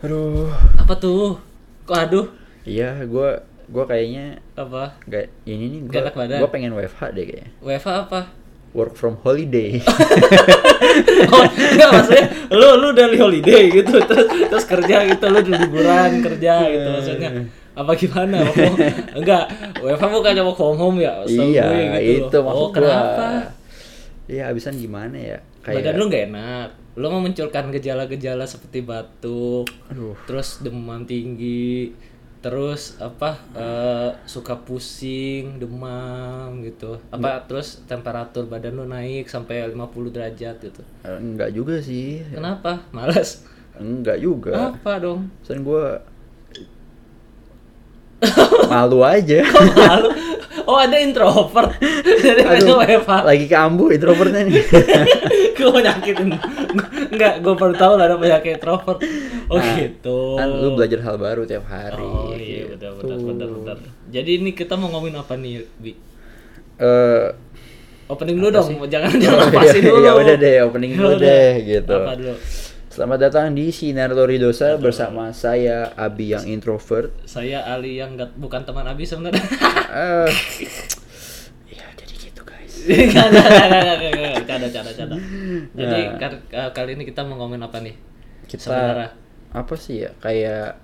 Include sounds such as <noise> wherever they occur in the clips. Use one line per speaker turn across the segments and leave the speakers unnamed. Aduh.
Apa tuh? Kok aduh?
Iya, gua gua kayaknya
Apa?
gak ini nih
Gak
gua,
enak badan.
gua pengen WFH deh kayaknya.
WFA apa? <laughs>
Work from holiday.
Oh, enggak maksudnya lu lu dari holiday gitu terus terus kerja gitu lu di liburan kerja gitu maksudnya apa gimana Mau- enggak WFA bukan mau home home ya setahu
iya,
gue gitu loh.
itu maksud
oh, kenapa
gua. Iya, abisan gimana ya?
badan lu nggak enak lu memunculkan gejala-gejala seperti batuk
Aduh.
terus demam tinggi terus apa eh, suka pusing demam gitu apa
Iya.
terus temperatur badan lu naik sampai 50 derajat gitu
Eh, Enggak juga sih.
kenapa malas
Enggak juga.
apa dong <laughs>
Pesan gua malu aja.
malu oh ada introvert <laughs> jadi
Aduh,
besok WFH <laughs>
lagi ke Ambu introvertnya nih.
gue nyakitin enggak gue baru tahu lah ada penyakit introvert <laughs> oh
Nah,
gitu
Kan lu belajar hal baru tiap hari.
Oh iya,
gitu.
bentar, bentar, bentar, bentar. Jadi ini kita mau ngomongin apa nih, Bi?
Eh,
Opening dulu dong, jangan <laughs>
Oh,
jangan lepasin
iya,
dulu.
iya, udah deh, opening
Ya
dulu
udah.
deh, gitu.
Apa dulu?
selamat datang di Sinar Loridosa bersama saya Abi yang introvert.
Saya Ali yang nggak- bukan teman Abi sebenarnya. <laughs>
Eh, ya jadi gitu guys.
<laughs> Nggak, nggak, nggak, nggak, nggak, nggak. Canda, canda, canda. Jadi
Nah.
kar- eh, kali ini kita mau ngomongin apa nih?
Kita
Sebenarnya.
apa sih ya kayak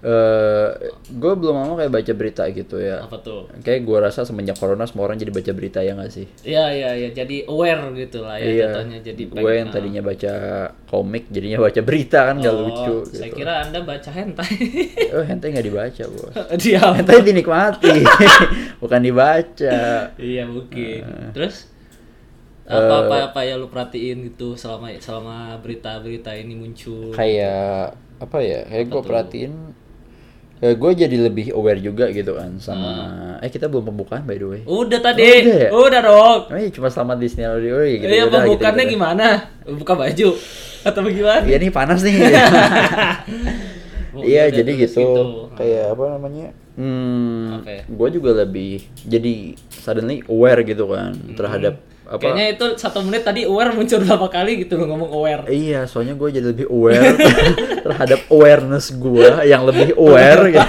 eh gue belum lama kayak baca berita gitu ya.
Apa tuh?
Kayak gue rasa semenjak corona semua orang jadi baca berita ya nggak sih?
Iya, iya, iya. Jadi aware gitu lah ya
Iya.
jatuhnya. Jadi Ah.
gue yang tadinya baca komik jadinya baca berita kan nggak
Oh,
lucu
Saya
gitu.
kira Anda baca hentai. <laughs>
Oh hentai nggak dibaca bos.
Diam.
Hentai
<laughs>
dinikmati bukan dibaca.
Iya mungkin.
Nah.
Terus
Eh.
apa apa apa yang lu perhatiin gitu selama selama berita-berita ini muncul.
Kayak apa ya? Kayak gue perhatiin eh, gue jadi lebih aware juga gitu kan sama
Hmm.
eh kita belum pembukaan by the way.
Udah tadi,
Udah ya?
udah, dong.
Emang ya cuma selamat di Sinar Audio ya gitu.
Iya
yaudah,
pembukaannya
gitu, gitu.
gimana? Buka baju atau bagaimana?
Iya nih panas nih.
<laughs> Oh,
<laughs> Iya
udah,
jadi
terus
gitu.
gitu.
Kayak apa namanya? Hmm,
Apa ya?
gue juga lebih jadi suddenly aware gitu kan terhadap apa?
Hmm. Kayaknya itu satu menit tadi aware muncul berapa kali gitu lo ngomong aware.
Iya, soalnya gue jadi lebih aware <laughs> terhadap awareness gue yang lebih aware.
<laughs>
gitu.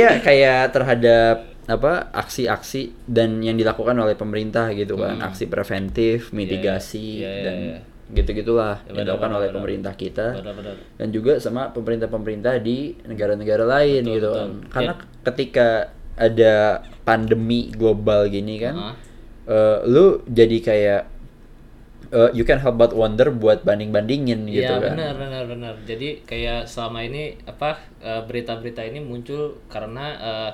iya, kayak terhadap apa aksi-aksi dan yang dilakukan oleh pemerintah gitu kan, aksi preventif, mitigasi
Hmm. Iya, iya,
dan
iya.
gitu-gitulah
Ya,
yang
benar,
dilakukan
benar,
oleh
benar.
pemerintah kita
Benar-benar.
dan juga sama pemerintah-pemerintah di negara-negara lain
Betul,
gitu
betul. Ya.
kan. Karena ketika ada pandemi global gini kan,
Ah.
eh, lu jadi kayak eh, you can help but wonder buat banding-bandingin gitu
Iya
kan.
benar benar benar. Jadi kayak selama ini apa eh, berita-berita ini muncul karena eh,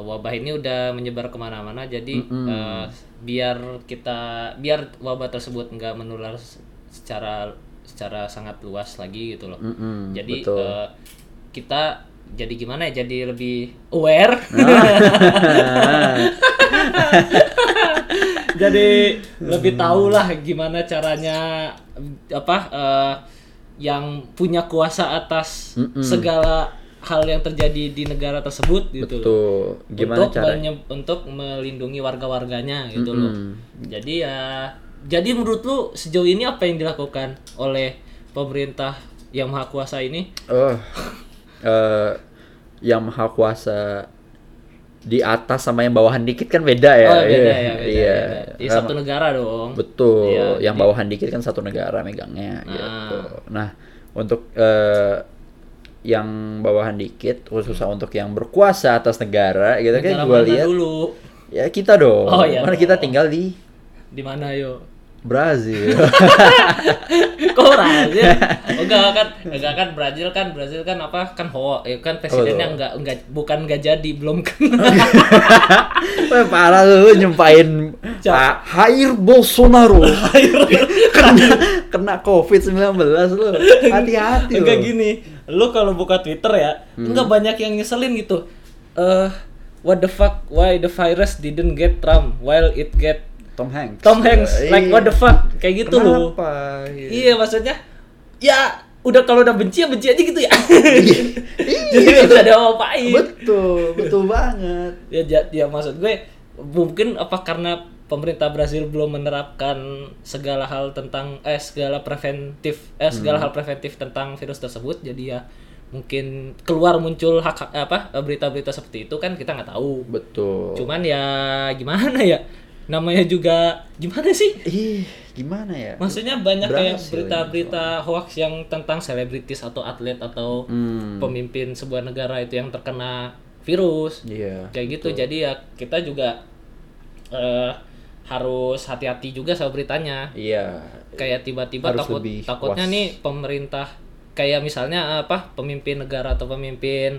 wabah ini udah menyebar kemana-mana. Jadi eh, biar kita biar wabah tersebut nggak menular s- secara secara sangat luas lagi gitu loh.
Mm-mm,
jadi
Hmm, betul.
eh, kita jadi gimana ya? Jadi lebih aware. <laughs> jadi lebih tahu lah gimana caranya apa eh, yang punya kuasa atas segala hal yang terjadi di negara tersebut gitu loh.
Tuh, gimana
untuk
cara?
menye- untuk melindungi warga-warganya gitu loh jadi ya jadi menurut lu sejauh ini apa yang dilakukan oleh pemerintah yang maha kuasa ini
Oh, eh, yang maha kuasa di atas sama yang bawahan dikit kan beda ya.
oh beda
Iya,
ya beda
iya.
ya, beda. Di
Em,
satu negara dong
Betul,
Iya, Ah.
yang bawahan dikit kan satu negara megangnya gitu. Nah, untuk eh, yang bawahan dikit khususnya untuk yang berkuasa atas negara gitu
Hmm. negara
kan gua
mana
lihat
dulu
ya kita dong.
Oh, iya
Mana
dong.
kita tinggal di
di mana yo <laughs>
Brazil. <laughs>
Kok Brazil? Oh, enggak kan, enggak kan Brazil kan Brazil kan apa kan Ho, ya kan presidennya enggak enggak bukan enggak jadi
<laughs>
belum kena.
Wah, parah lu, lu nyumpain ah, Jair Bolsonaro.
<laughs>
kena kena Covid-19 lu. Hati-hati lu.
enggak gitu. gini. Lu kalau buka Twitter ya,
Hmm.
enggak banyak yang nyeselin gitu. Eh what the fuck why the virus didn't get Trump while it get
Tom Hanks.
Tom Hanks
Ya,
like
iya.
what the fuck kayak gitu
Kenapa?
loh.
Iya.
Iya maksudnya ya udah kalau udah benci ya benci aja gitu ya. <laughs> Jadi
Iya.
enggak ada apa-apain.
Betul, betul banget.
ya, ja- ya maksud gue mungkin apa karena pemerintah Brazil belum menerapkan segala hal tentang eh segala preventif eh segala hal preventif tentang virus tersebut jadi ya mungkin keluar muncul hak apa berita-berita seperti itu kan kita nggak tahu
Betul.
cuman ya gimana ya namanya juga gimana sih
Ih, gimana ya?
maksudnya banyak kayak
Berhasil ini
berita-berita hoax yang tentang selebritis atau atlet atau
Hmm,
pemimpin sebuah negara itu yang terkena virus
iya.
kayak gitu jadi ya kita juga eh, harus hati-hati juga sama beritanya
Iya.
kayak tiba-tiba
Harus
takut
lebih
takutnya
was.
nih pemerintah kayak misalnya eh, apa pemimpin negara atau pemimpin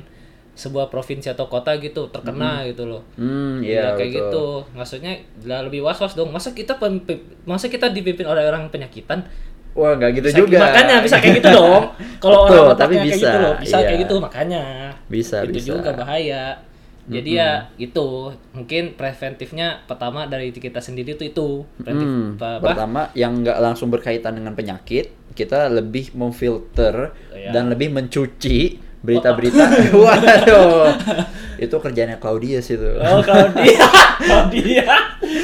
sebuah provinsi atau kota gitu terkena gitu loh
Hmm,
Ya,
iya
kayak
betul.
gitu maksudnya lah lebih was was dong masa kita pemimpin, masa kita dipimpin oleh orang penyakitan
Wah, nggak gitu
Bisa-
juga.
makanya bisa kayak gitu
<laughs>
dong kalau
Betul,
orang
tapi
otaknya kayak
bisa,
gitu loh bisa
iya.
kayak gitu makanya
Bisa,
itu
bisa.
juga bahaya jadi ya itu mungkin preventifnya pertama dari kita sendiri itu itu preventif
Hmm,
apa- apa?
pertama yang nggak langsung berkaitan dengan penyakit, kita lebih memfilter
Iya.
dan lebih mencuci berita-berita. <laughs>
<laughs>
Waduh. itu kerjanya Claudius itu.
Oh, Claudia. Claudia.
<laughs>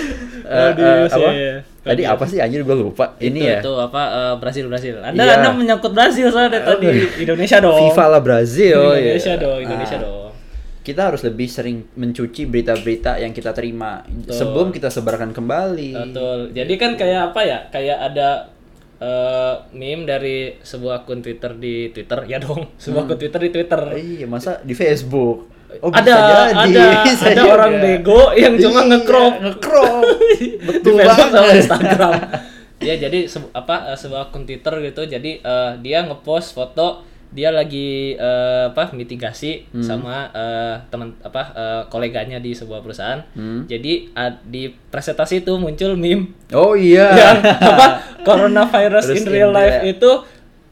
Eh, eh, apa?
ya.
Tadi apa sih anjir gue lupa. Ini
Itu,
ya.
itu apa eh, Brasil Brasil. Anda
Iya.
Anda menyangkut Brasil soalnya dari tadi Indonesia dong.
FIFA lah Brazil. ya.
Indonesia dong, Indonesia
Ah,
dong.
Kita harus lebih sering mencuci berita-berita yang kita terima sebelum kita sebarkan kembali.
Betul. Jadi kan kayak apa ya? Kayak ada eh, meme dari sebuah akun Twitter di Twitter ya dong. <laughs> Sebuah akun Twitter di Twitter.
Iya, masa di Facebook? Hmm. Oh, bisa
ada
jadi,
ada
<laughs> bisa
ada
juga.
orang bego yang cuma
Iya,
nge-crop
nge-crop.
<laughs> di
Betul
Facebook sama
banget. <laughs>
Instagram. ya jadi se- apa eh, sebuah akun Twitter gitu. Jadi eh, dia ngepost foto dia lagi eh, apa mitigasi
Hmm.
sama eh, teman apa eh, koleganya di sebuah perusahaan.
Hmm.
Jadi ad- di presentasi itu muncul meme
Oh iya.
yang apa coronavirus
Terus
in real
in
life
the-
itu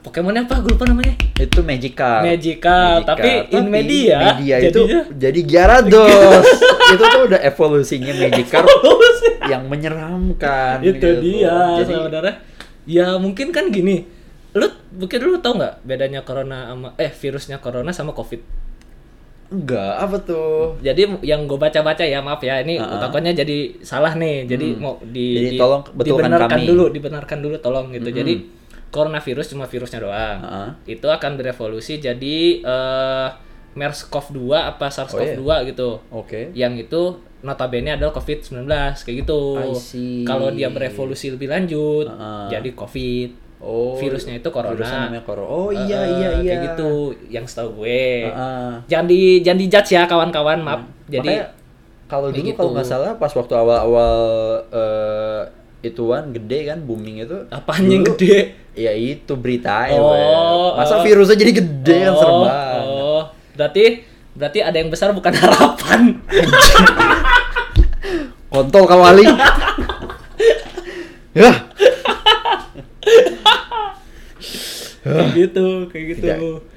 Pokemonnya apa? Gue lupa
<laughs>
namanya.
Itu Magikarp.
Magikarp, tapi in media,
media
jadinya-
itu jadi
<laughs>
Gyarados. itu tuh udah evolusinya Magikarp yang menyeramkan.
itu
gitu.
dia
Jadi,
Kan saudara ya mungkin kan gini lu mungkin lu tau nggak bedanya corona sama eh virusnya corona sama covid
enggak apa tuh?
jadi yang gue baca-baca ya maaf ya ini
Ah.
takutnya jadi salah nih jadi mau di,
Hmm. Jadi
di-
tolong betulkan
dibenarkan
kami. Hmm.
dulu dibenarkan dulu tolong gitu jadi coronavirus cuma virusnya doang
Ah.
itu akan berevolusi jadi eh MERS-CoV-2
Oh,
apa
iya.
SARS-CoV-2 gitu
Oke.
yang itu notabene adalah COVID-19 kayak gitu.
I see.
Kalau dia berevolusi lebih lanjut,
Uh-uh.
jadi COVID.
Oh.
Virusnya itu corona.
Virusnya namanya corona. Oh iya
Eh,
iya iya.
Kayak gitu yang setahu gue.
Heeh. Iya.
Jangan di jangan dijudge ya kawan-kawan, maaf. Jadi
Makanya, kalau
kayak
dulu
gitu.
kalau nggak salah pas waktu awal-awal eh, ituan gede kan booming itu.
apaan yang gede?
Ya itu beritanya.
Oh,
Beb. Masa
oh.
virusnya jadi gede kan serem
Oh,
banget.
Oh, berarti berarti ada yang besar bukan <laughs> harapan.
Kontol kau
<laughs>
Ali. Yah,
kayak gitu, kayak gitu.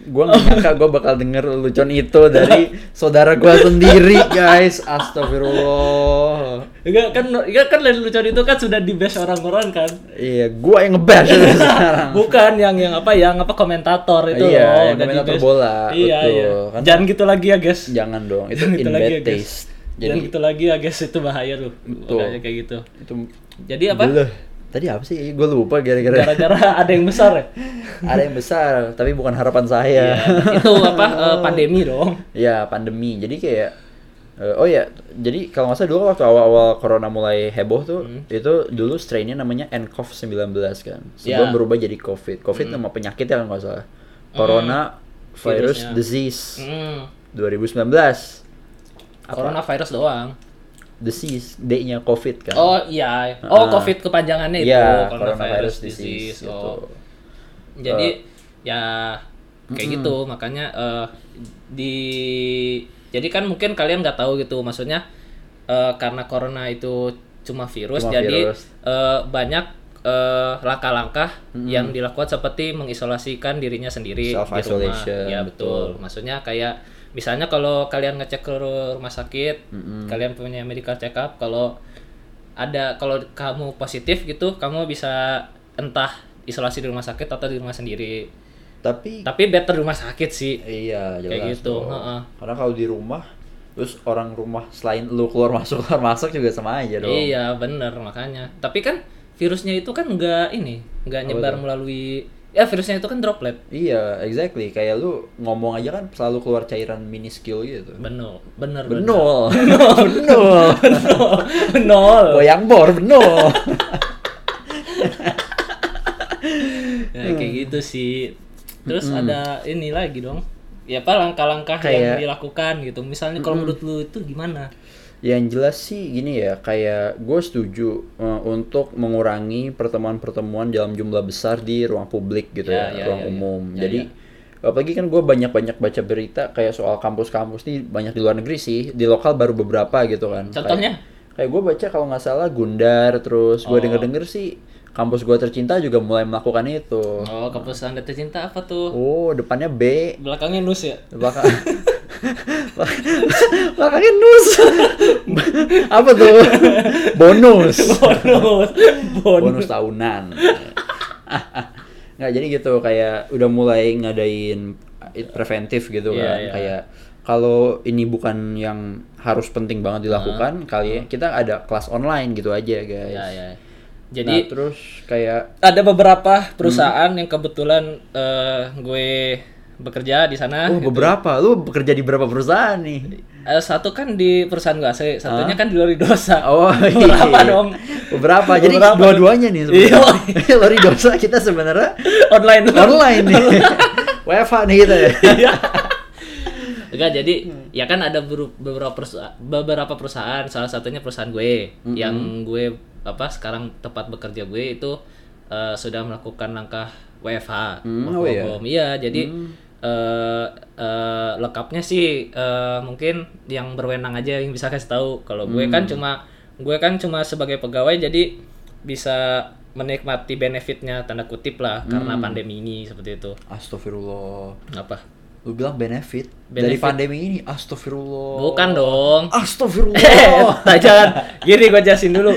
gue gak nyangka gue bakal denger lelucon itu dari saudara gue sendiri guys Astagfirullah
Enggak kan enggak kan lelucon itu kan sudah di base orang-orang kan.
Iya, gue yang
<laughs>
ngebash itu sekarang
Bukan yang yang apa yang apa komentator itu
Iya,
loh,
yang
udah
komentator
dibahas.
bola,
Iya,
betul.
iya.
Kan-
Jangan gitu lagi ya, guys. <laughs>
Jangan dong, itu
Jangan
in
gitu lagi ya,
bad
guys.
taste
Jangan
Jadi
gitu lagi ya, guys. Itu bahaya loh.
Betul.
Makanya kayak gitu.
itu
Jadi apa?
Beleh. Tadi apa sih? Gue lupa gara-gara
Gara-gara <laughs> ada yang besar ya.
<laughs>
Iya,
ada yang besar, tapi bukan harapan saya
itu
<laughs>
apa eh, pandemi dong.
Ya pandemi, jadi kayak eh, oh ya, jadi kalau nggak salah dulu kan waktu awal-awal corona mulai heboh tuh,
Hmm.
itu dulu strainnya namanya ncov 19 kan, sebelum
Ya.
berubah jadi covid. Covid
Hmm.
nama penyakit ya kalau nggak salah. Corona virus
Virusnya.
disease
Hmm.
2019. Apa?
Coronavirus doang.
Disease, D-nya covid kan.
Oh iya.
Ah.
Oh, COVID kepanjangannya itu
Iya,
coronavirus,
coronavirus
disease.
disease,
Oh.
gitu. Eh,
Jadi ya kayak gitu makanya eh, di jadi kan mungkin kalian nggak tahu gitu maksudnya eh, karena corona itu cuma virus
Cuma
jadi
virus.
eh, banyak eh, langkah-langkah yang dilakukan seperti mengisolasikan dirinya sendiri di rumah.
Self-isolation,
Ya betul. Maksudnya kayak misalnya kalau kalian ngecek ke ru- rumah sakit, kalian punya medical check up kalau ada kalau kamu positif gitu, kamu bisa entah isolasi di rumah sakit atau di rumah sendiri.
Tapi
Tapi better rumah sakit sih.
iya jelas.
Kayak
dong.
gitu, heeh.
Karena kalau di rumah terus orang rumah selain lu keluar <laughs> masuk keluar masuk juga sama aja dong
Iya bener makanya. Tapi kan virusnya itu kan nggak ini nggak nyebar melalui ya virusnya itu kan droplet.
Iya, exactly. Kayak lu ngomong aja kan selalu keluar cairan miniskil gitu.
Benol, bener benol,
Benol. <laughs>
<laughs>
Benol.
benol, benol.
Goyang bor, benol.
Ya, kayak
Hmm.
gitu sih. Terus ada ini lagi dong. Ya apa langkah-langkah
Kayak-
yang
Hmm.
dilakukan gitu. Misalnya kalau menurut lu itu gimana?
Yang jelas sih gini ya, kayak gue setuju eh, untuk mengurangi pertemuan-pertemuan dalam jumlah besar di ruang publik gitu
Ya,
ya,
ya,
ruang
ya, ya.
umum.
Ya,
Jadi apalagi kan gue banyak-banyak baca berita kayak soal kampus-kampus nih banyak di luar negeri sih, di lokal baru beberapa gitu kan.
Contohnya? Oh.
Kayak, kayak gue baca kalau nggak salah Gundar, terus gue denger-denger sih kampus gue tercinta juga mulai melakukan itu.
Oh, kampus Anda tercinta apa tuh?
Oh, depannya B,
Belakangnya nus ya? <laughs>
Bakal Makanya nus Apa tuh? Bonus
Bonus. Bonus.
Bonus tahunan Nggak jadi gitu Kayak udah mulai ngadain Preventif gitu
Iya,
kan
iya.
Kayak kalau ini bukan yang harus penting banget dilakukan kali ya kita ada kelas online gitu aja guys.
Ya, ya.
Jadi
Jadi
terus kayak
ada beberapa perusahaan yang kebetulan eh, gue bekerja di sana.
oh beberapa lu bekerja di berapa perusahaan nih?
Eh, satu kan di perusahaan gue AC, satunya kan di Lori Dosa.
Ah.
<laughs>
Oh,
Beberapa
iya.
dong.
Beberapa. Jadi
Beberapa
dua-duanya nih
Iya.
sebenarnya. <laughs> Lori dosa kita
<laughs>
sebenarnya
Online dong.
online
<laughs>
nih. WFH nih kita. ya.
Enggak, jadi
Hmm.
ya kan ada beru- beberapa perusahaan, beberapa perusahaan, salah satunya perusahaan gue
Hmm.
yang gue apa sekarang tempat bekerja gue itu eh, sudah melakukan langkah WFH.
Hmm,
work
oh
from
iya.
home. Iya, jadi eh, eh, lengkapnya sih eh, mungkin yang berwenang aja yang bisa kasih tahu. Kalau gue
Hmm.
kan cuma gue kan cuma sebagai pegawai jadi bisa menikmati benefitnya tanda kutip lah karena
Hmm.
pandemi ini seperti itu.
Astagfirullah.
Apa?
Lu bilang benefit, dari
Benefit.
pandemi ini. Astagfirullah.
Bukan dong. <laughs>
<laughs>
Eh,
Astagfirullah.
tak, jangan. Gini gue jelasin <laughs> dulu.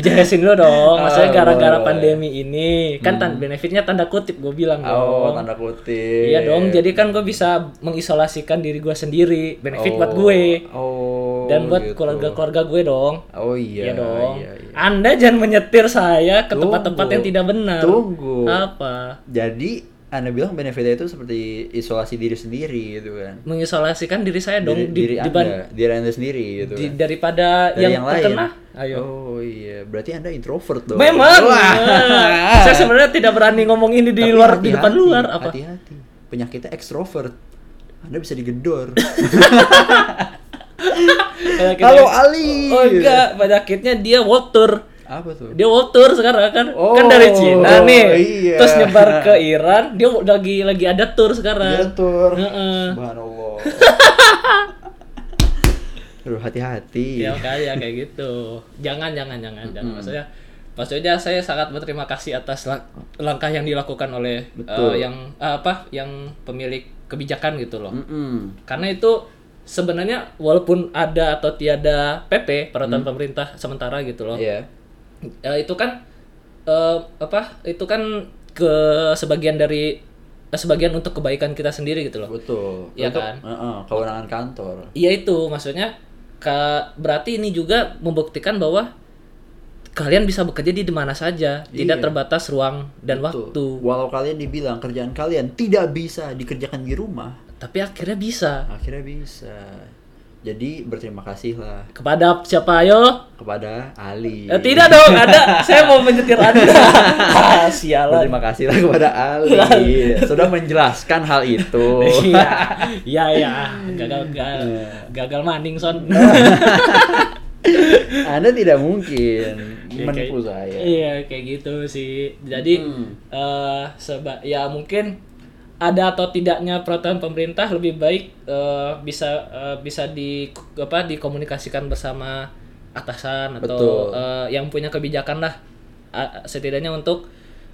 jelasin dulu dong. Maksudnya
Ah,
gara-gara
boleh. Hmm.
pandemi ini kan tan- benefitnya tanda kutip gue bilang
oh,
dong.
tanda kutip.
Iya dong. Jadi kan gue bisa mengisolasikan diri gue sendiri. Benefit
Oh,
buat gue
Oh.
dan buat
gitu.
keluarga-keluarga gue dong.
Oh iya.
Iya dong.
iya, iya.
Anda jangan menyetir saya ke tempat-tempat
Tunggu.
yang tidak benar.
Tunggu.
Apa?
Jadi anda bilang benefitnya itu seperti isolasi diri sendiri gitu kan.
Mengisolasikan diri saya Iya dong
Diri, diri
di- diban-
anda, diri anda sendiri gitu.
di- daripada
Dari
yang,
yang, lain.
terkena. Ayo.
Oh iya, berarti Anda introvert dong.
Memang.
Wah.
bener. <laughs> Saya sebenarnya tidak berani ngomong ini di
Tapi
luar di
hati-hati,
depan luar apa. <laughs>
Hati-hati. Penyakitnya ekstrovert. Anda bisa
<laughs>
digedor.
Kayak kita-
Halo Ali.
Oh enggak, penyakitnya dia walter.
Apa tuh?
Dia walter sekarang kan.
Oh,
kan dari Cina nih.
iya.
Terus nyebar ke
<laughs>
Iran, dia lagi lagi ada tour sekarang.
Gedor.
Heeh. <laughs>
Subhanallah. Aduh, hati-hati.
Ya kayak kayak gitu. Jangan jangan jangan jangan maksudnya Maksudnya saya sangat berterima kasih atas lang- langkah yang dilakukan oleh eh,
Betul.
yang apa yang pemilik kebijakan gitu loh.
Mm-mm.
karena itu sebenarnya walaupun ada atau tiada PP peraturan pemerintah sementara gitu loh
Hmm. Iya.
Eh, itu kan eh, apa itu kan ke sebagian dari eh, sebagian untuk kebaikan kita sendiri gitu loh
Betul.
Iya
Untuk-
kan?
Heeh, kewenangan kantor.
iya itu maksudnya ke, berarti ini juga membuktikan bahwa kalian bisa bekerja di mana saja tidak
Iya.
terbatas ruang dan
Betul.
waktu
Walau kalian dibilang kerjaan kalian tidak bisa dikerjakan di rumah,
tapi akhirnya bisa
akhirnya bisa. Jadi berterima kasihlah
kepada siapa ayo
kepada Ali.
Eh, tidak dong ada saya mau menyetir
<laughs>
anda Ah, sialan
Terima kasihlah kepada
<laughs>
Ali sudah menjelaskan hal itu.
Iya, <laughs> iya, iya. Gagal, gagal, gagal maning son.
Anda tidak mungkin
Iya,
menipu
kayak-
saya.
Iya, kayak gitu sih. Jadi, eh seba- ya mungkin ada atau tidaknya peraturan pemerintah lebih baik eh, bisa eh, bisa di apa dikomunikasikan bersama atasan atau
Betul.
eh, yang punya kebijakan lah A- setidaknya untuk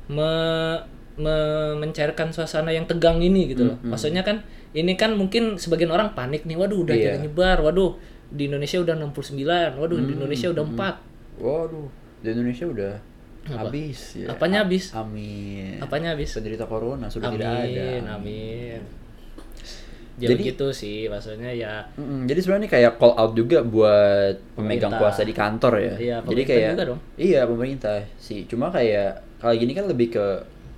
me- me- mencairkan suasana yang tegang ini gitu loh. Maksudnya kan ini kan mungkin sebagian orang panik nih, waduh udah
Iya.
jadi nyebar, waduh di Indonesia udah 69, waduh di Indonesia udah 4.
Waduh, di Indonesia udah habis ya.
Apanya habis?
Amin.
Apanya habis?
Penderita corona sudah
amin,
tidak ada.
amin. jadi,
Jadi-
gitu sih maksudnya ya
Mm-mm, jadi sebenarnya ini kayak call out juga buat pemegang
Pemerintah.
kuasa di kantor ya.
Iya,
jadi
pemerintah
kayak
juga dong.
iya pemerintah sih. Cuma kayak kalau gini kan lebih ke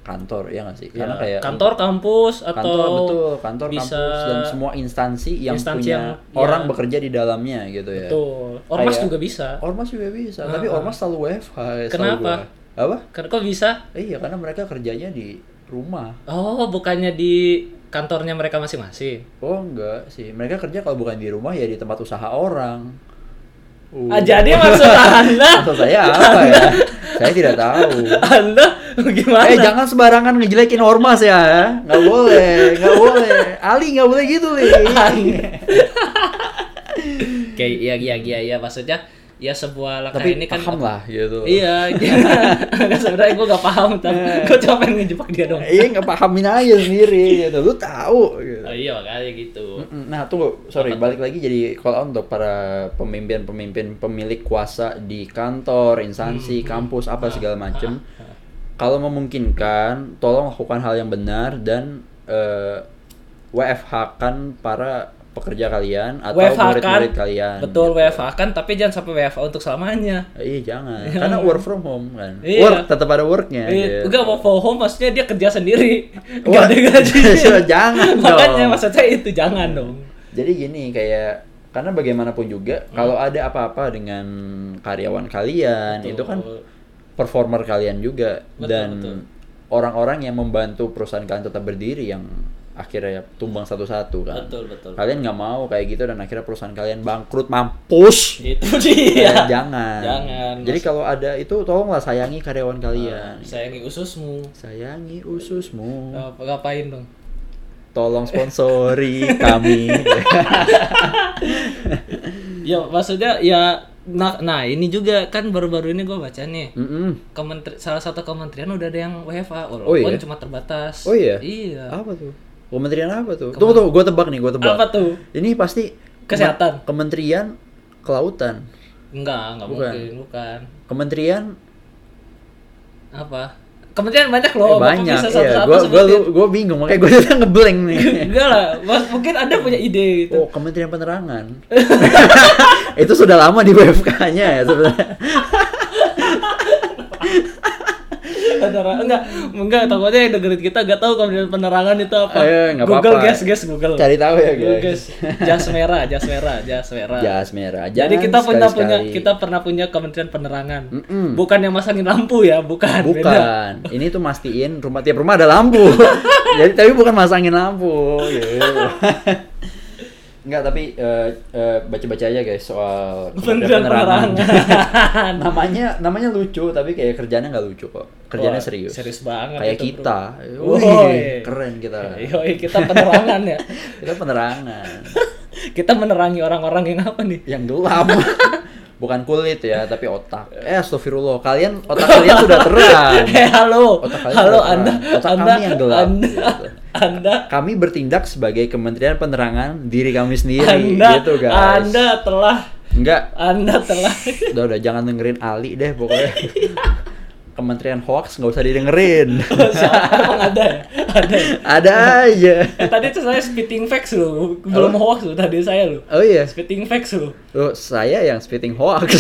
kantor ya nggak sih? Karena
ya,
kayak
kantor kampus atau
kantor betul kantor
bisa
kampus dan semua ya. instansi yang
instansi
punya
yang-
orang
ya.
bekerja di dalamnya gitu ya.
betul ormas
Kayak-
juga bisa
Ormas juga bisa, tapi
Ah, ah.
ormas selalu WFH. setahu
Kenapa?
gua. Apa?
Ker- kok bisa
Iya, karena mereka kerjanya di rumah.
oh bukannya di kantornya mereka masing-masing
Oh enggak sih, mereka kerja kalau bukan di rumah ya di tempat usaha orang. Uh.
ah, jadi maksud
<laughs>
anda
Maksud saya apa ya? Saya tidak tahu.
anda gimana
Eh jangan sembarangan ngejelekin ormas ya, nggak boleh, nggak boleh. Ali nggak boleh gitu
<laughs>
li.
kayak iya iya iya iya maksudnya ya sebuah langkah
Tapi
ini kan
paham lah gitu.
iya iya <laughs> Nggak, sebenarnya gue gak paham tapi
Eh.
gue cuma pengen ngejebak dia dong
Iya nggak pahamin aja sendiri gitu. Lu tahu. Gitu.
oh, iya makanya gitu
Nah tunggu, sorry balik lagi jadi call out untuk para pemimpin-pemimpin pemilik kuasa di kantor, instansi, kampus apa segala macem. Kalau memungkinkan, tolong lakukan hal yang benar dan eh, WFH kan para pekerja kalian atau
WFH kan
murid-murid kalian. Gitu.
betul WFH kan tapi jangan sampai WFH untuk selamanya
Iya jangan, <laughs> karena work from home kan.
Iya.
Work tetap ada worknya.
Iya,
gitu.
enggak mau from home maksudnya dia kerja
<laughs>
sendiri
Wah,
gak ada gajinya
<laughs> jangan
makanya
dong.
maksud saya itu jangan dong
Jadi gini kayak karena bagaimanapun juga
Hmm.
kalau ada apa-apa dengan karyawan kalian itu kan
Betul.
performer kalian juga
Betul,
dan
betul.
orang-orang yang membantu perusahaan kalian tetap berdiri yang akhirnya tumbang satu-satu kan.
Betul, betul.
Kalian nggak mau kayak gitu dan akhirnya perusahaan kalian bangkrut mampus. Kayak
itu Gitu dia
jangan.
Iya. Jangan. Ah.
Jadi kalau ada itu tolonglah sayangi karyawan kalian.
sayangi ususmu
Sayangi ususmu.
Ngap- Eh, ngapain dong
Tolong sponsori kami.
<laughs> ya maksudnya ya nah, nah ini juga kan baru-baru ini gue baca nih
Mm-mm.
Kementeri, salah satu kementerian udah ada yang WFA walaupun
Oh iya?
cuma terbatas
Oh iya?
iya
Apa tuh? Kementerian apa tuh? Tunggu tunggu, gue tebak nih, gue tebak.
apa tuh
Ini pasti kemen-
Kesehatan.
Kementerian Kelautan.
enggak enggak
Bukan.
mungkin bukan
Kementerian
apa kementerian
eh,
banyak loh Oh, Bapak
banyak
bisa
ya.
satu-satu
Gue gue
sebutin. Gitu.
gue bingung makanya gue udah <laughs> ngeblank nih.
enggak lah Mas, mungkin anda punya ide gitu
Oh, Kementerian Penerangan. <laughs> Itu sudah lama di WFK-nya ya sebenarnya.
Penerangan. enggak enggak takutnya yang dengerin kita gak tahu kementerian penerangan itu apa
Eh, nggak
Google
apa-apa.
guys guys Google
Cari tahu ya,
Google,
guys.
jas merah jas merah jas merah
Jas merah.
Jadi
Jangan
kita pernah punya
sekali-sekali.
kita pernah punya Kementerian Penerangan.
Mm-mm.
Bukan yang masangin lampu ya, bukan. Beda.
Bukan. Ini tuh mastiin rumah tiap rumah ada
<laughs>
lampu. Jadi tapi bukan masangin lampu. Gitu. Enggak, tapi eh, eh, baca-baca aja guys soal
Kementerian Penerangan.
<laughs> namanya namanya lucu tapi kayak kerjanya nggak lucu kok. Kerjanya
Wah,
serius.
Oh, Serius banget.
Kayak
itu,
kita.
bro.
Wih,
Woi.
keren kita.
Yoi, kita penerangan ya.
<laughs> Kita penerangan
Kita menerangi orang-orang yang apa nih?
yang gelap. <laughs> Bukan kulit ya, tapi otak. Eh, astagfirullah. Kalian otak kalian sudah
<laughs>
terang.
Eh, halo.
Iya. Otak kalian
Halo
terang.
Anda.
Otak
anda,
kami yang gelap.
Anda.
Gitu.
Anda.
kami bertindak sebagai Kementerian Penerangan diri kami sendiri
Anda.
gitu guys.
Anda telah
Enggak,
Anda telah
udah udah jangan dengerin Ali deh pokoknya.
<laughs>
Kementerian hoax nggak usah didengerin.
<laughs> Siapa? Emang ada ya? Ada. ya?
Ada aja.
Eh, tadi tuh saya spitting facts loh, belum hoax loh tadi saya loh.
Oh iya,
Spitting facts loh.
Loh, saya yang spitting
<laughs>
hoax.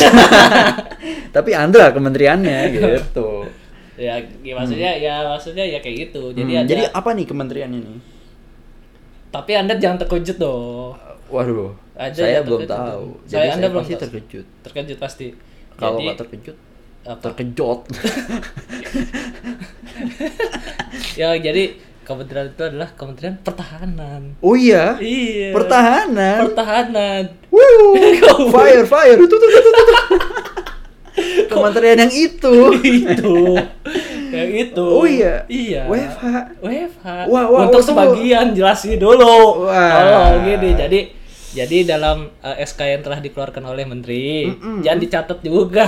Tapi Andra kementeriannya gitu.
ya, ya maksudnya ya maksudnya ya kayak gitu <laughs> jadi
Hmm,
ada
jadi apa nih kementerian ini?
tapi anda jangan terkejut dong
Waduh,
Ada
saya
yang
belum
terkejut.
tahu.
Saya-
Jadi saya,
Anda belum
pasti
tahu.
terkejut.
terkejut pasti
Kalau
jadi
nggak terkejut,
apa <laughs>
terkejut.
ya jadi kementerian itu adalah kementerian pertahanan
oh iya,
iya
pertahanan.
pertahanan <laughs>
Wuh, fire, fire. Tuh, tuh, tuh, tuh, tuh. Kementerian yang itu.
itu yang itu
iya. Oh iya.
iya
WFH.
WFH
Wah, wah, Ah.
untuk
wah,
sebagian jelasin dulu
Wah.
kalau gini jadi jadi dalam eh, SK yang telah dikeluarkan oleh menteri
Mm-mm.
jangan dicatat juga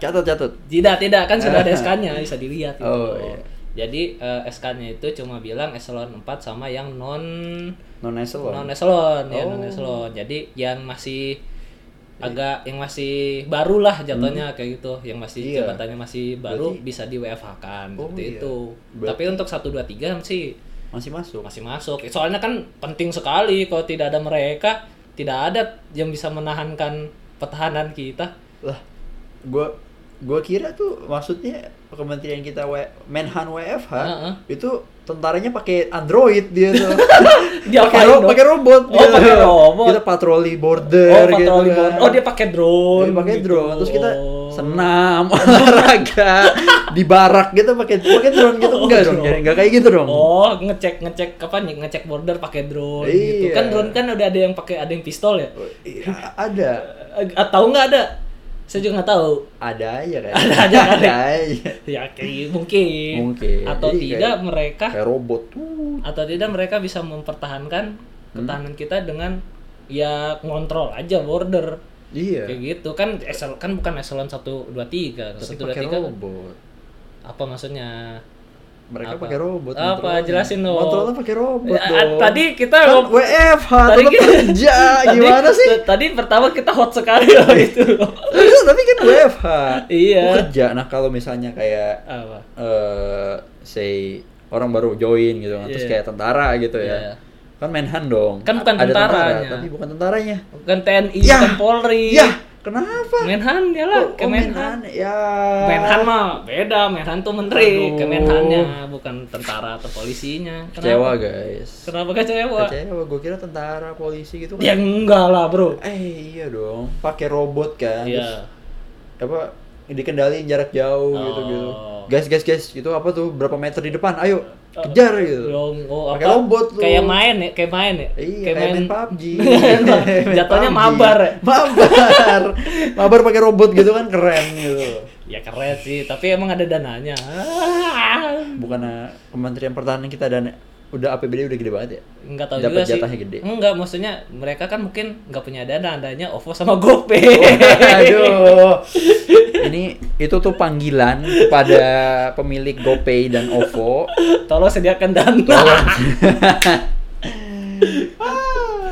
Catat, catat.
Tidak, tidak. Kan sudah ada SK-nya, bisa dilihat. gitu.
Ah. Oh, iya.
Jadi eh, SK-nya itu cuma bilang eselon 4 sama yang non
Non
non
eselon.
eselon ya
Gitu. Oh.
non eselon. Jadi yang masih agak yang masih baru lah jatuhnya kayak gitu, yang masih
Hmm. Iya.
jabatannya masih baru
Berarti-
bisa di WFH-kan
Oh,
kan, seperti
iya.
itu.
Berarti-
Tapi untuk 1 2 3 sih
masih masuk
masih masuk. Soalnya kan penting sekali kalau tidak ada mereka, tidak ada yang bisa menahankan pertahanan kita.
lah gua gua kira tuh maksudnya kementerian kita W- Menhan WFH
Heeh.
itu tentaranya pakai android dia tuh
<laughs> Dia
pakai
apain
ro-
dong?
pakai robot
Oh, pakai robot.
kita patroli
Oh,
border gitu
patroli
kan.
bot. Oh, dia pakai drone.
Dia pakai
gitu.
drone terus kita
Oh. <laughs>
senam olahraga di barak gitu pakai pakai drone gitu enggak
Oh,
dong
drone.
enggak kayak gitu dong
Oh, ngecek ngecek apa nih? Ngecek border pakai drone gitu.
Iya.
Kan drone kan udah ada yang pakai ada yang pistol ya?
Iya, ada
Eh, Atau nggak ada? Saya juga nggak tahu.
ada aja kan
<laughs> Ada aja kan,
ada
ya?
aja
Ya kayak mungkin.
Mungkin.
Atau
Jadi
tidak
kayak-
mereka
kayak robot tuh
atau tidak mereka bisa mempertahankan
Hmm.
ketahanan kita dengan ya ngontrol aja border.
iya
Kayak gitu kan esel kan bukan eselon 1 2 3.
tapi
1 2
pakai
3 kan
robot
apa maksudnya?
mereka
Apa?
pakai robot
Apa?
ngontrolnya.
Jelasin dong.
ngontrolnya pakai robot
Eh,
dong
tadi kita
kan
ngob-
WFH
tadi
tetap
kita-
kerja
<laughs> Tadi-
gimana sih
Tadi pertama kita hot sekali loh <laughs> itu.
Terus, tapi kan WFH
Iya.
Lu kerja nah kalau misalnya kayak
Apa?
eh say orang baru join gitu kan terus
Iya.
kayak tentara gitu
Iya.
ya kan menhan dong
Kan bukan
A- ada
tentaranya.
tapi bukan tentaranya
Bukan TNI,
Yah!
bukan Polri.
Yah, kenapa
Menhan dia
Ya.
lah,
oh,
Iya. Kemenhan.
menhan ya
Menhan mah beda, Menhan tuh menteri,
Aduh.
Kemenhannya bukan tentara atau polisinya.
kecewa
Kenapa?
guys
Kenapa kecewa?
kecewa gue kira tentara polisi gitu
Ya
kan
enggak lah, Bro.
eh iya dong pakai robot kan terus
Iya.
apa dikendaliin jarak jauh
Oh.
gitu gitu guys guys guys itu apa tuh berapa meter di depan ayo
Oh.
kejar gitu
Dong, oh,
Pakai
apa?
robot lu.
Kayak main ya, kayak main ya.
Iya, kayak main
<laughs>
PUBG.
Jatuhnya
PUBG.
mabar ya.
Mabar. mabar pakai robot gitu kan keren gitu.
Ya keren sih, tapi emang ada dananya. Ah.
Bukan ah, Kementerian Pertahanan kita dan udah APBD udah gede banget ya.
Enggak tahu
Dapat
juga sih.
jatahnya gede.
Enggak, maksudnya mereka kan mungkin nggak punya dana, adanya OVO sama GoPay.
Oh, Aduh. Ini itu tuh panggilan kepada pemilik GoPay dan OVO.
Tolong sediakan dana.
Tolong.
Ah.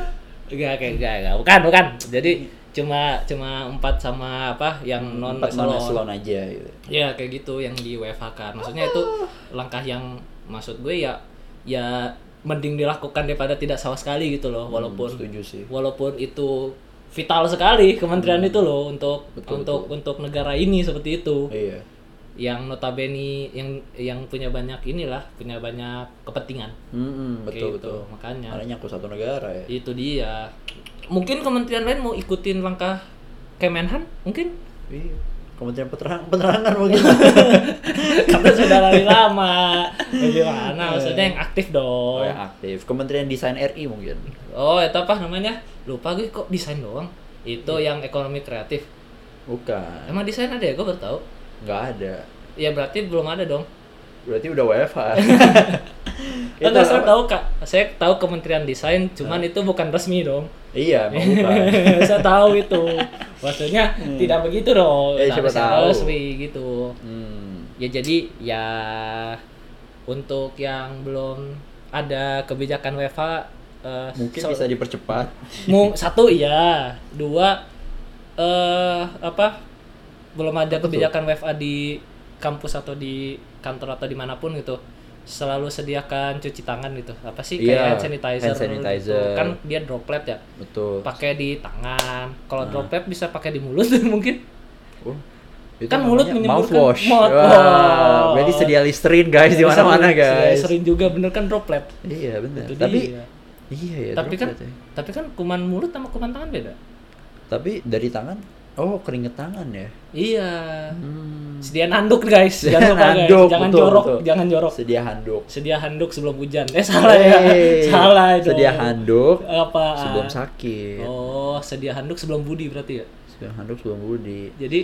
Enggak, kayak enggak, enggak. Bukan, bukan. Jadi cuma cuma empat sama apa yang non
Empat mana
eselon.
selon aja gitu.
Ya kayak gitu yang di WFH kan. Maksudnya itu langkah yang maksud gue ya ya mending dilakukan daripada tidak sama sekali gitu loh walaupun
Hmm, Setuju sih. Hmm.
walaupun itu vital sekali kementerian itu loh untuk
Betul,
untuk untuk negara ini seperti itu
Iya.
yang notabene yang yang punya banyak inilah punya banyak kepentingan
Mm-mm,
Kayak
betul
gitu.
betul.
makanya
Makanya aku satu negara ya.
itu dia mungkin kementerian lain mau ikutin langkah Kemenhan mungkin <laughs>
Iya. Kementerian Peterang- Penerangan mungkin.
karena sudah lari lama bagaimana maksudnya yang aktif
Iya. Oh,
dong
yang aktif. Kementerian Desain RI mungkin.
oh itu apa namanya lupa gue kok desain doang itu
Iya.
yang ekonomi kreatif
Bukan.
emang desain ada ya gue baru tahu
Nggak ada.
ya berarti belum ada dong
Berarti udah WFH.
<laughs>
Itu
Enggak, saya
apa?
tahu kak, saya tahu Kementerian Desain, cuman itu bukan resmi dong.
Iya, emang
<laughs>
bukan.
saya tahu itu, maksudnya tidak begitu dong.
Hmm. Eh,
Tidak
siapa
secara
tahu.
resmi gitu.
hmm.
Ya jadi ya untuk yang belum ada kebijakan WFA, eh,
Mungkin
so-
bisa dipercepat.
mu- satu iya, dua eh apa belum ada kebijakan WFA di kampus atau di kantor atau dimanapun gitu selalu sediakan cuci tangan gitu apa sih kayak
Iya,
hand sanitizer,
hand sanitizer.
gitu. kan dia droplet ya
Betul.
pakai di tangan kalau
Nah.
droplet bisa pakai di mulut <laughs> mungkin
Oh, itu
Kan mulut
namanya
menyemburkan
mouthwash.
mouthwash.
Wah, berarti sedia listerin guys Eh, di mana-mana
Sedia-
guys.
Iya, sering juga bener kan droplet
Iya, benar.
Itu
Tapi
dia.
iya ya.
tapi kan
droplet ya.
tapi kan kuman mulut sama kuman tangan beda
tapi dari tangan Oh, keringet tangan ya.
iya
Hmm.
sedia handuk guys
Sedia
jangan lupa guys
handuk,
jangan
betul,
jorok
betul.
jangan jorok
Sedia handuk.
sedia handuk sebelum hujan eh salah ya
Hey,
<laughs> salah itu
Sedia handuk
apa
sebelum sakit.
oh sedia handuk sebelum budi berarti ya
Sedia handuk sebelum budi.
jadi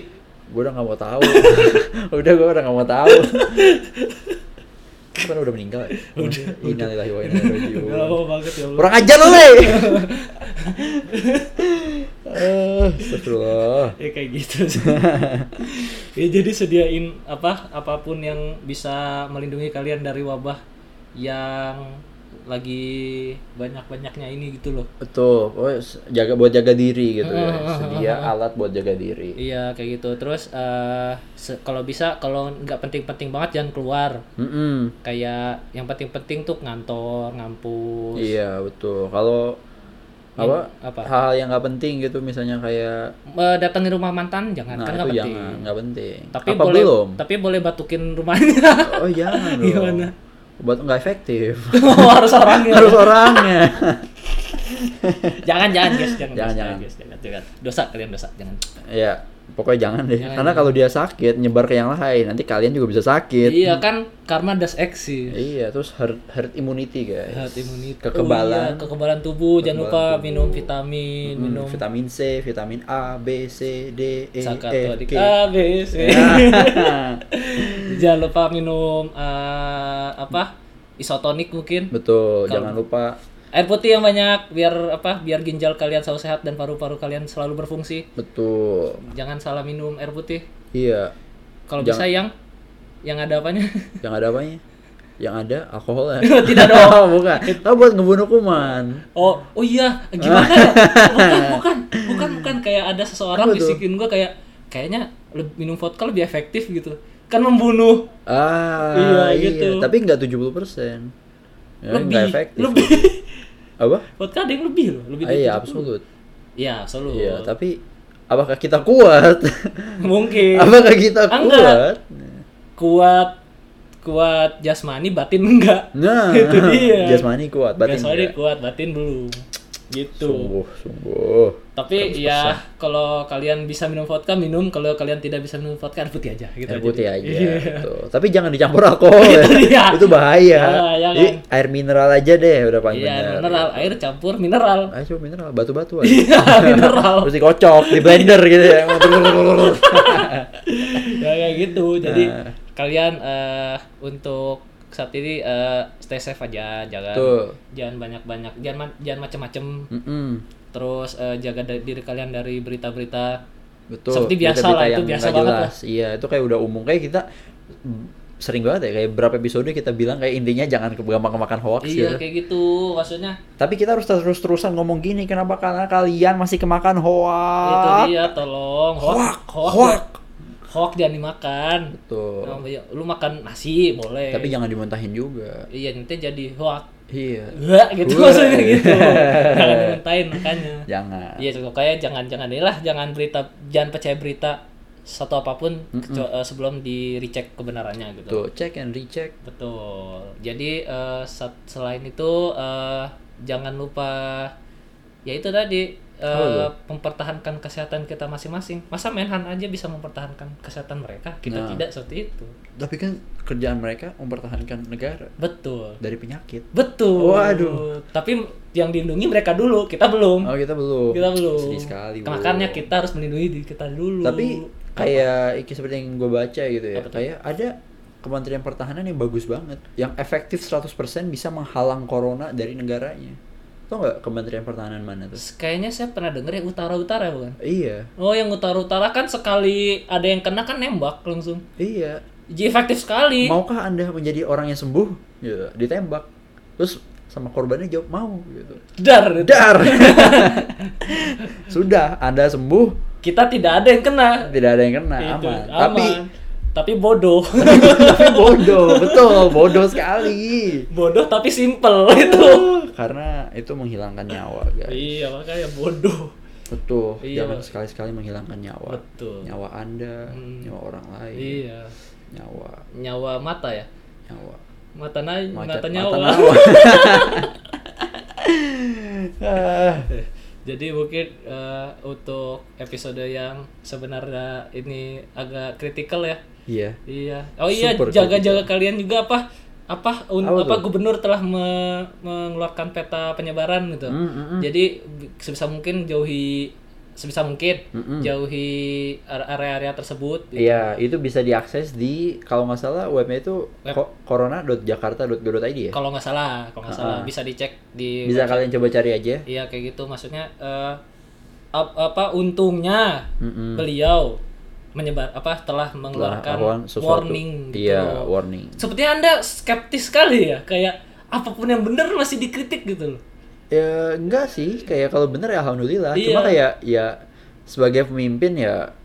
gue udah nggak mau tahu <laughs> udah gue udah nggak mau
<laughs>
tahu kan udah meninggal ya? udah innalillahi wa inna ilaihi raji'un
oh banget ya Allah
kurang ajar lu le Eh, Astagfirullah
ya kayak gitu <laughs> sih. ya jadi sediain apa apapun yang bisa melindungi kalian dari wabah yang lagi banyak-banyaknya ini gitu loh.
Betul, pokoknya s- jaga buat jaga diri gitu
<laughs>
ya.
Heeh, heeh,
Sedia alat buat jaga diri.
Iya kayak gitu. Terus eh, se- kalau bisa kalau nggak penting-penting banget jangan keluar.
Mm-mm.
Kayak yang penting-penting tuh ngantor, ngampus.
Iya, betul. Kalau apa,
Iya. apa?
hal yang nggak penting gitu misalnya kayak
Eh, Datangi rumah mantan jangan
nah
kan nggak
itu
penting.
jangan nggak penting
Tapi
apa
boleh
belum
tapi boleh batukin rumahnya. <laughs>
oh jangan dong
Gimana?
buat nggak efektif <laughs>
Harus orangnya.
harus orangnya <laughs>
jangan jangan guys jangan
Jangan,
guys,
jangan.
guys, jangan, jangan. dosa kalian dosa jangan
ya pokoknya jangan deh
Jangan,
karena kalau dia sakit nyebar ke yang lain nanti kalian juga bisa sakit
iya kan karma does aksi
Gitu. iya terus herd herd immunity guys
herd immunity
kekebalan.
Oh, iya, kekebalan tubuh jangan lupa
Kekebalan
minum
tubuh.
vitamin
Hmm,
minum
vitamin C vitamin A B C D E
zakat
F G
adik A B C
Ya.
<laughs> jangan lupa minum eh, apa isotonik mungkin
<laughs> betul
Kalau- gitu.
jangan lupa
air putih yang banyak biar apa biar ginjal kalian selalu sehat dan paru-paru kalian selalu berfungsi
betul
jangan salah minum air putih
iya
kalau
Jangan-
bisa yang yang ada apanya <laughs>
yang ada apanya yang ada alkoholnya
Tidak dong.
<laughs> bukan tapi buat ngebunuh kuman
Oh, oh iya, gimana ya?
<laughs>
Bukan, bukan, bukan, bukan kayak ada seseorang
Apa tuh?
bisikin gua kayak kayaknya leb- minum vodka lebih efektif gitu. Kan membunuh
Ah,
Iya, gitu.
Tapi nggak 70 persen.
lebih
Ya, efektif.
lebih <laughs>
Apa?
vodka ada yang lebih loh, lebih
Ah,
dari
iya,
70.
absolut.
Iya, selalu.
Iya, tapi apakah kita
<laughs>
kuat?
Mungkin
apakah kita
Ah, Enggak.
kuat?
kuat kuat jasmani batin enggak.
Nah,
<laughs> Itu dia.
jasmani kuat, batin
jasmani
enggak.
kuat, batin belum. Gitu.
Sungguh, sungguh.
Tapi ya kalau kalian bisa minum vodka minum, kalau kalian tidak bisa minum vodka air putih aja gitu
Air
aja
putih
deh.
aja,
Iya.
betul. Tapi jangan dicampur
<laughs>
alkohol. ya.
Itu dia.
<laughs> Itu bahaya.
Ah, jangan.
Jadi air mineral aja deh, udah paling
Iya,
benar.
mineral, air campur mineral. <laughs>
Ah, coba mineral, batu-batu aja.
Iya,
<laughs>
mineral.
Terus dikocok, di blender gitu
<laughs>
ya.
ya kayak gitu. Jadi
Nah.
kalian eh, untuk saat ini eh, stay safe aja, jangan
Betul.
jangan banyak-banyak, jangan ma- jangan macem-macem.
Mm-mm.
Terus eh, jaga da- diri kalian dari berita-berita.
Betul.
Seperti biasa
berita-berita
lah, itu
yang
biasa
nggak
banget
jelas. Iya, itu kayak udah umum kayak kita mm, sering banget ya kayak berapa episode kita bilang kayak intinya jangan ke- gampang kemakan hoax
Iya,
gitu.
kayak gitu. Maksudnya
Tapi kita harus terus-terusan ngomong gini kenapa karena kalian masih kemakan
itu
hoax.
dia tolong hoax hoax
hoax.
hoax jangan dimakan.
Betul.
Nah, Lu makan nasi
Oh.
boleh.
Tapi jangan dimuntahin juga.
Iya, nanti jadi hoax. <laughs>
Iya.
Wah, gitu
Wah.
maksudnya gitu. jangan dimentahin makanya.
<laughs> Jangan.
Iya cukup kayak jangan jangan inilah jangan berita jangan percaya berita satu apapun kecuali- eh, sebelum di recheck kebenarannya gitu.
Tuh, cek and recheck.
Betul. Jadi eh, sat- selain itu eh, jangan lupa ya itu tadi eh,
Apa
mempertahankan kesehatan kita masing-masing. Masa Menhan aja bisa mempertahankan kesehatan mereka, kita
Nah.
tidak seperti itu.
Tapi kan kerjaan mereka mempertahankan negara
Betul.
dari penyakit.
Betul.
Waduh.
Tapi yang dilindungi mereka dulu, kita belum.
Oh, kita belum.
Kita belum.
Sedih sekali. Bu.
Makanya kita harus melindungi diri kita dulu.
Tapi kayak iki seperti yang gue baca gitu ya.
Apa tuh?
Kayak ada Kementerian Pertahanan yang bagus banget, yang efektif 100% bisa menghalang corona dari negaranya. Tau nggak Kementerian Pertahanan mana tuh?
Terus kayaknya saya pernah denger ya utara-utara bukan?
Iya,
Oh yang utara-utara kan sekali ada yang kena kan nembak langsung.
iya.
Jadi efektif sekali.
Maukah anda menjadi orang yang sembuh? Gitu, ditembak. Terus sama korbannya jawab mau gitu.
Dar.
Dar. <laughs> Sudah, anda sembuh,
Kita tidak ada yang kena.
tidak ada yang kena, Nah,
Itu,
aman. Tapi
tapi
<laughs>
bodoh.
tapi bodoh, betul, bodoh sekali.
bodoh tapi simple itu.
Karena itu menghilangkan nyawa, guys.
iya makanya bodoh.
Betul,
Iya,
jangan
Pak.
sekali-sekali menghilangkan nyawa.
Betul.
Nyawa Anda,
Hmm.
nyawa orang lain,
Iya.
nyawa,
Nyawa mata ya.
nyawa.
Mata na
Macet
mata
mata
nyawa.
nyawa. <laughs> Ah,
<laughs> Jadi mungkin eh, untuk episode yang sebenarnya ini agak kritikal ya.
Iya.
Iya. Oh iya,
Super
jaga-jaga kalian juga apa? Apa un-
Apa
apa
tuh?
gubernur telah me- mengeluarkan peta penyebaran gitu.
Mm, mm, mm.
Jadi bi- sebisa mungkin jauhi sebisa mungkin
Mm-mm.
jauhi are- area-area tersebut.
Hmm, Iya, itu bisa diakses di kalau nggak salah webnya itu ko- corona.jakarta.go.id ya.
Kalau nggak salah, kalau nggak salah bisa dicek di
Bisa kalian coba cari aja.
Iya kayak gitu maksudnya eh, ap- apa untungnya
Mm-mm.
beliau menyebar apa telah
Hmm, Telah
mengeluarkan
melakukan sesuatu.
warning gitu.
Iya, warning.
Sepertinya Anda skeptis sekali ya, kayak apapun yang benar masih dikritik gitu loh.
ya enggak sih kayak kalau bener ya alhamdulillah
Iya.
cuma kayak ya sebagai pemimpin ya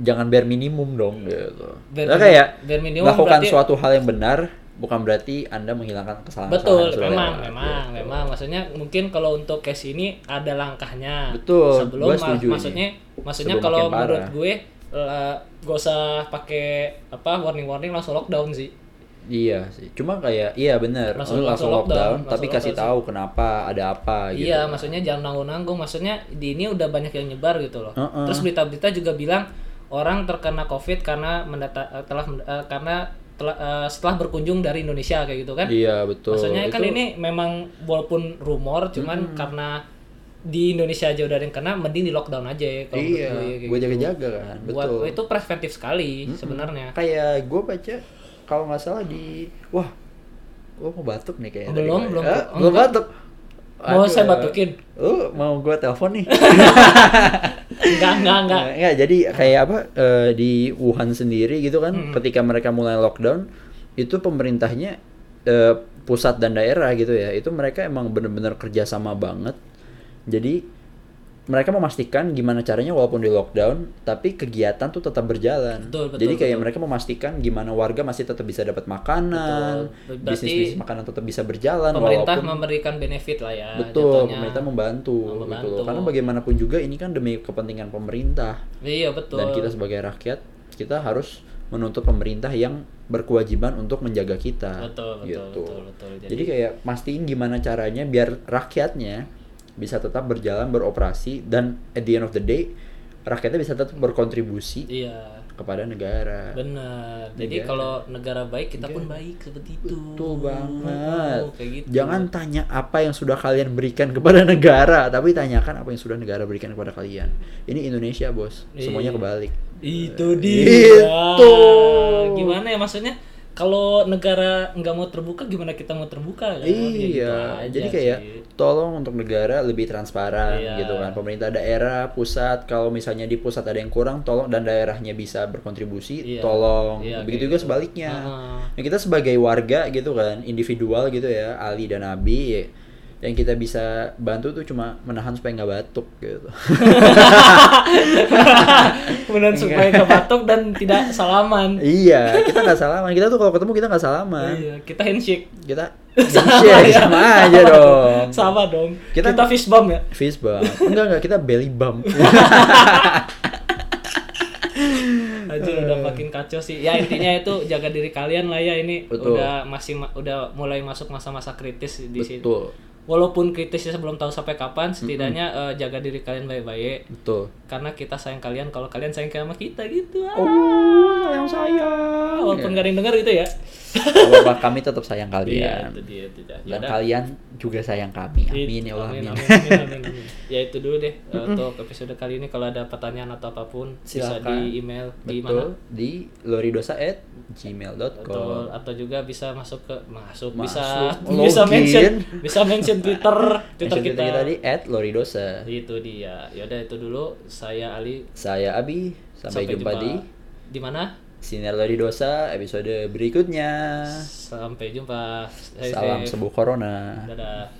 jangan bare minimum dong gitu
Iya. Bare
Nah,
minim-
kayak
bare minimum
melakukan
berarti-
suatu hal yang benar bukan berarti anda menghilangkan kesalahan
Betul, memang,
Iya,
memang, memang. Maksudnya mungkin kalau untuk case ini ada langkahnya.
Betul,
Sebelum
gua
ma-
setuju ini.
maksudnya, maksudnya
Sebelum
kalau
makin parah.
menurut gue eh, gak usah pakai apa warning-warning langsung lockdown sih.
iya sih cuma kayak iya bener
Langsung-
langsung,
langsung lockdown,
lockdown, tapi kasih
langsung lockdown
tahu kenapa ada apa gitu
Iya, maksudnya jangan nanggung-nanggung. Maksudnya di ini udah banyak yang nyebar gitu loh.
Heeh.
Terus berita-berita juga bilang orang terkena COVID karena mendata- eh, telah men- eh, karena telah, eh, setelah berkunjung dari Indonesia kayak gitu kan.
iya betul
Maksudnya kan
Itu-
ini memang walaupun rumor cuman karena di Indonesia aja udah ada yang kena mending di lockdown aja ya kalau
iya
menurut kayak
gue
gitu.
jaga-jaga kan
Buat
betul
itu ya. preventif sekali sebenarnya.
kayak gue baca kalau nggak salah di wah gue mau batuk nih kayaknya tadi
Oh, Belum,
gua-
belum.
Ah,
Enggak.
belum batuk
Mau saya batukin?
uh, mau gue telepon
<laughs>
nih
Enggak, enggak, enggak.
Nah, enggak jadi kayak apa eh, di Wuhan sendiri gitu kan
Hmm.
ketika mereka mulai lockdown itu pemerintahnya eh, pusat dan daerah gitu ya itu mereka emang bener-bener kerjasama banget jadi mereka memastikan gimana caranya walaupun di lockdown tapi kegiatan tuh tetap berjalan
Betul, betul,
jadi kayak
betul.
mereka memastikan gimana warga masih tetap bisa dapat makanan
Betul. Berarti
bisnis bisnis makanan tetap bisa berjalan
Pemerintah
<laughs> walaupun
memberikan benefit lah ya.
betul
jatuhnya.
pemerintah membantu, gitu
Membantu.
loh karena bagaimanapun juga ini kan demi kepentingan pemerintah
Iya, betul.
dan kita sebagai rakyat kita harus menuntut pemerintah yang berkewajiban untuk menjaga kita
Betul, betul,
gitu
betul, betul. Jadi-
jadi, kayak pastiin gimana caranya biar rakyatnya bisa tetap berjalan beroperasi dan at the end of the day rakyatnya bisa tetap berkontribusi
Iya.
kepada negara
Benar. Jadi
Negara.
kalau negara baik kita pun baik seperti itu.
Iya. Betul banget.
Oh, kayak gitu.
Jangan tanya apa yang sudah kalian berikan kepada negara, tapi tanyakan apa yang sudah negara berikan kepada kalian. Ini Indonesia, Bos. Semuanya
Iya.
kebalik.
Itu
Eh, Itu.
dia. Gimana ya maksudnya? Kalau negara nggak mau terbuka, gimana kita mau terbuka? Kan? Ya gitu
Iya,
aja
jadi kayak
sih. <laughs>
tolong untuk negara lebih transparan
Iya.
gitu kan. Pemerintah daerah, pusat, kalau misalnya di pusat ada yang kurang, tolong dan daerahnya bisa berkontribusi,
Iya.
tolong.
Iya,
Begitu
kayak
juga
gitu.
sebaliknya.
Heeh.
Nah, kita sebagai warga gitu kan, individual gitu ya, Ali dan Abi, ya, yang kita bisa bantu tuh cuma menahan supaya nggak batuk
<laughs>
gitu.
Kemudian supaya nggak batuk dan tidak salaman.
iya, kita nggak salaman. Kita tuh kalau ketemu kita nggak salaman.
Iya, kita handshake. <laughs>
Kita handshake
ya.
sama aja dong.
Sama dong. Kita,
Kita-
fist bump ya.
Fist bump. Enggak enggak, kita belly bump.
Aduh
Eh.
udah makin kacau sih. Ya intinya itu jaga diri kalian lah ya ini
Betul.
udah masih ma- udah mulai masuk masa-masa kritis <laughs> di sini.
Betul.
Walaupun kritisnya sebelum tahu sampai kapan, setidaknya eh, jaga diri kalian baik-baik
Betul.
karena kita sayang kalian kalau kalian sayang sama kita gitu. Ah.
Oh, sayang sayang.
Walaupun gak ada yang denger gitu ya.
Bahwa Iya. kami tetap sayang
Iya,
kalian.
itu dia itu dia.
Dan
Yaudah.
kalian juga sayang kami. Amin ya Allah.
amin,
Amin.
amin,
<laughs>
amin, amin, amin. Ya itu dulu deh eh, untuk episode kali ini kalau ada pertanyaan atau apapun bisa
Silakan.
di email di mana
Betul. Di loridosa@gmail.com.
Betul. Atau juga bisa masuk ke masuk, bisa
Masuk.
bisa
Login.
mention bisa
<laughs>
mention Twitter Twitter
Mention
kita.
kita tadi @loridosa.
Itu dia. Yaudah itu dulu saya Ali
Saya Abi. Sampai, jumpa, di
di mana?
Sinar Loridosa episode berikutnya.
Sampai jumpa.
Eh.
Stay
Salam
safe.
sembuh corona.
Dadah.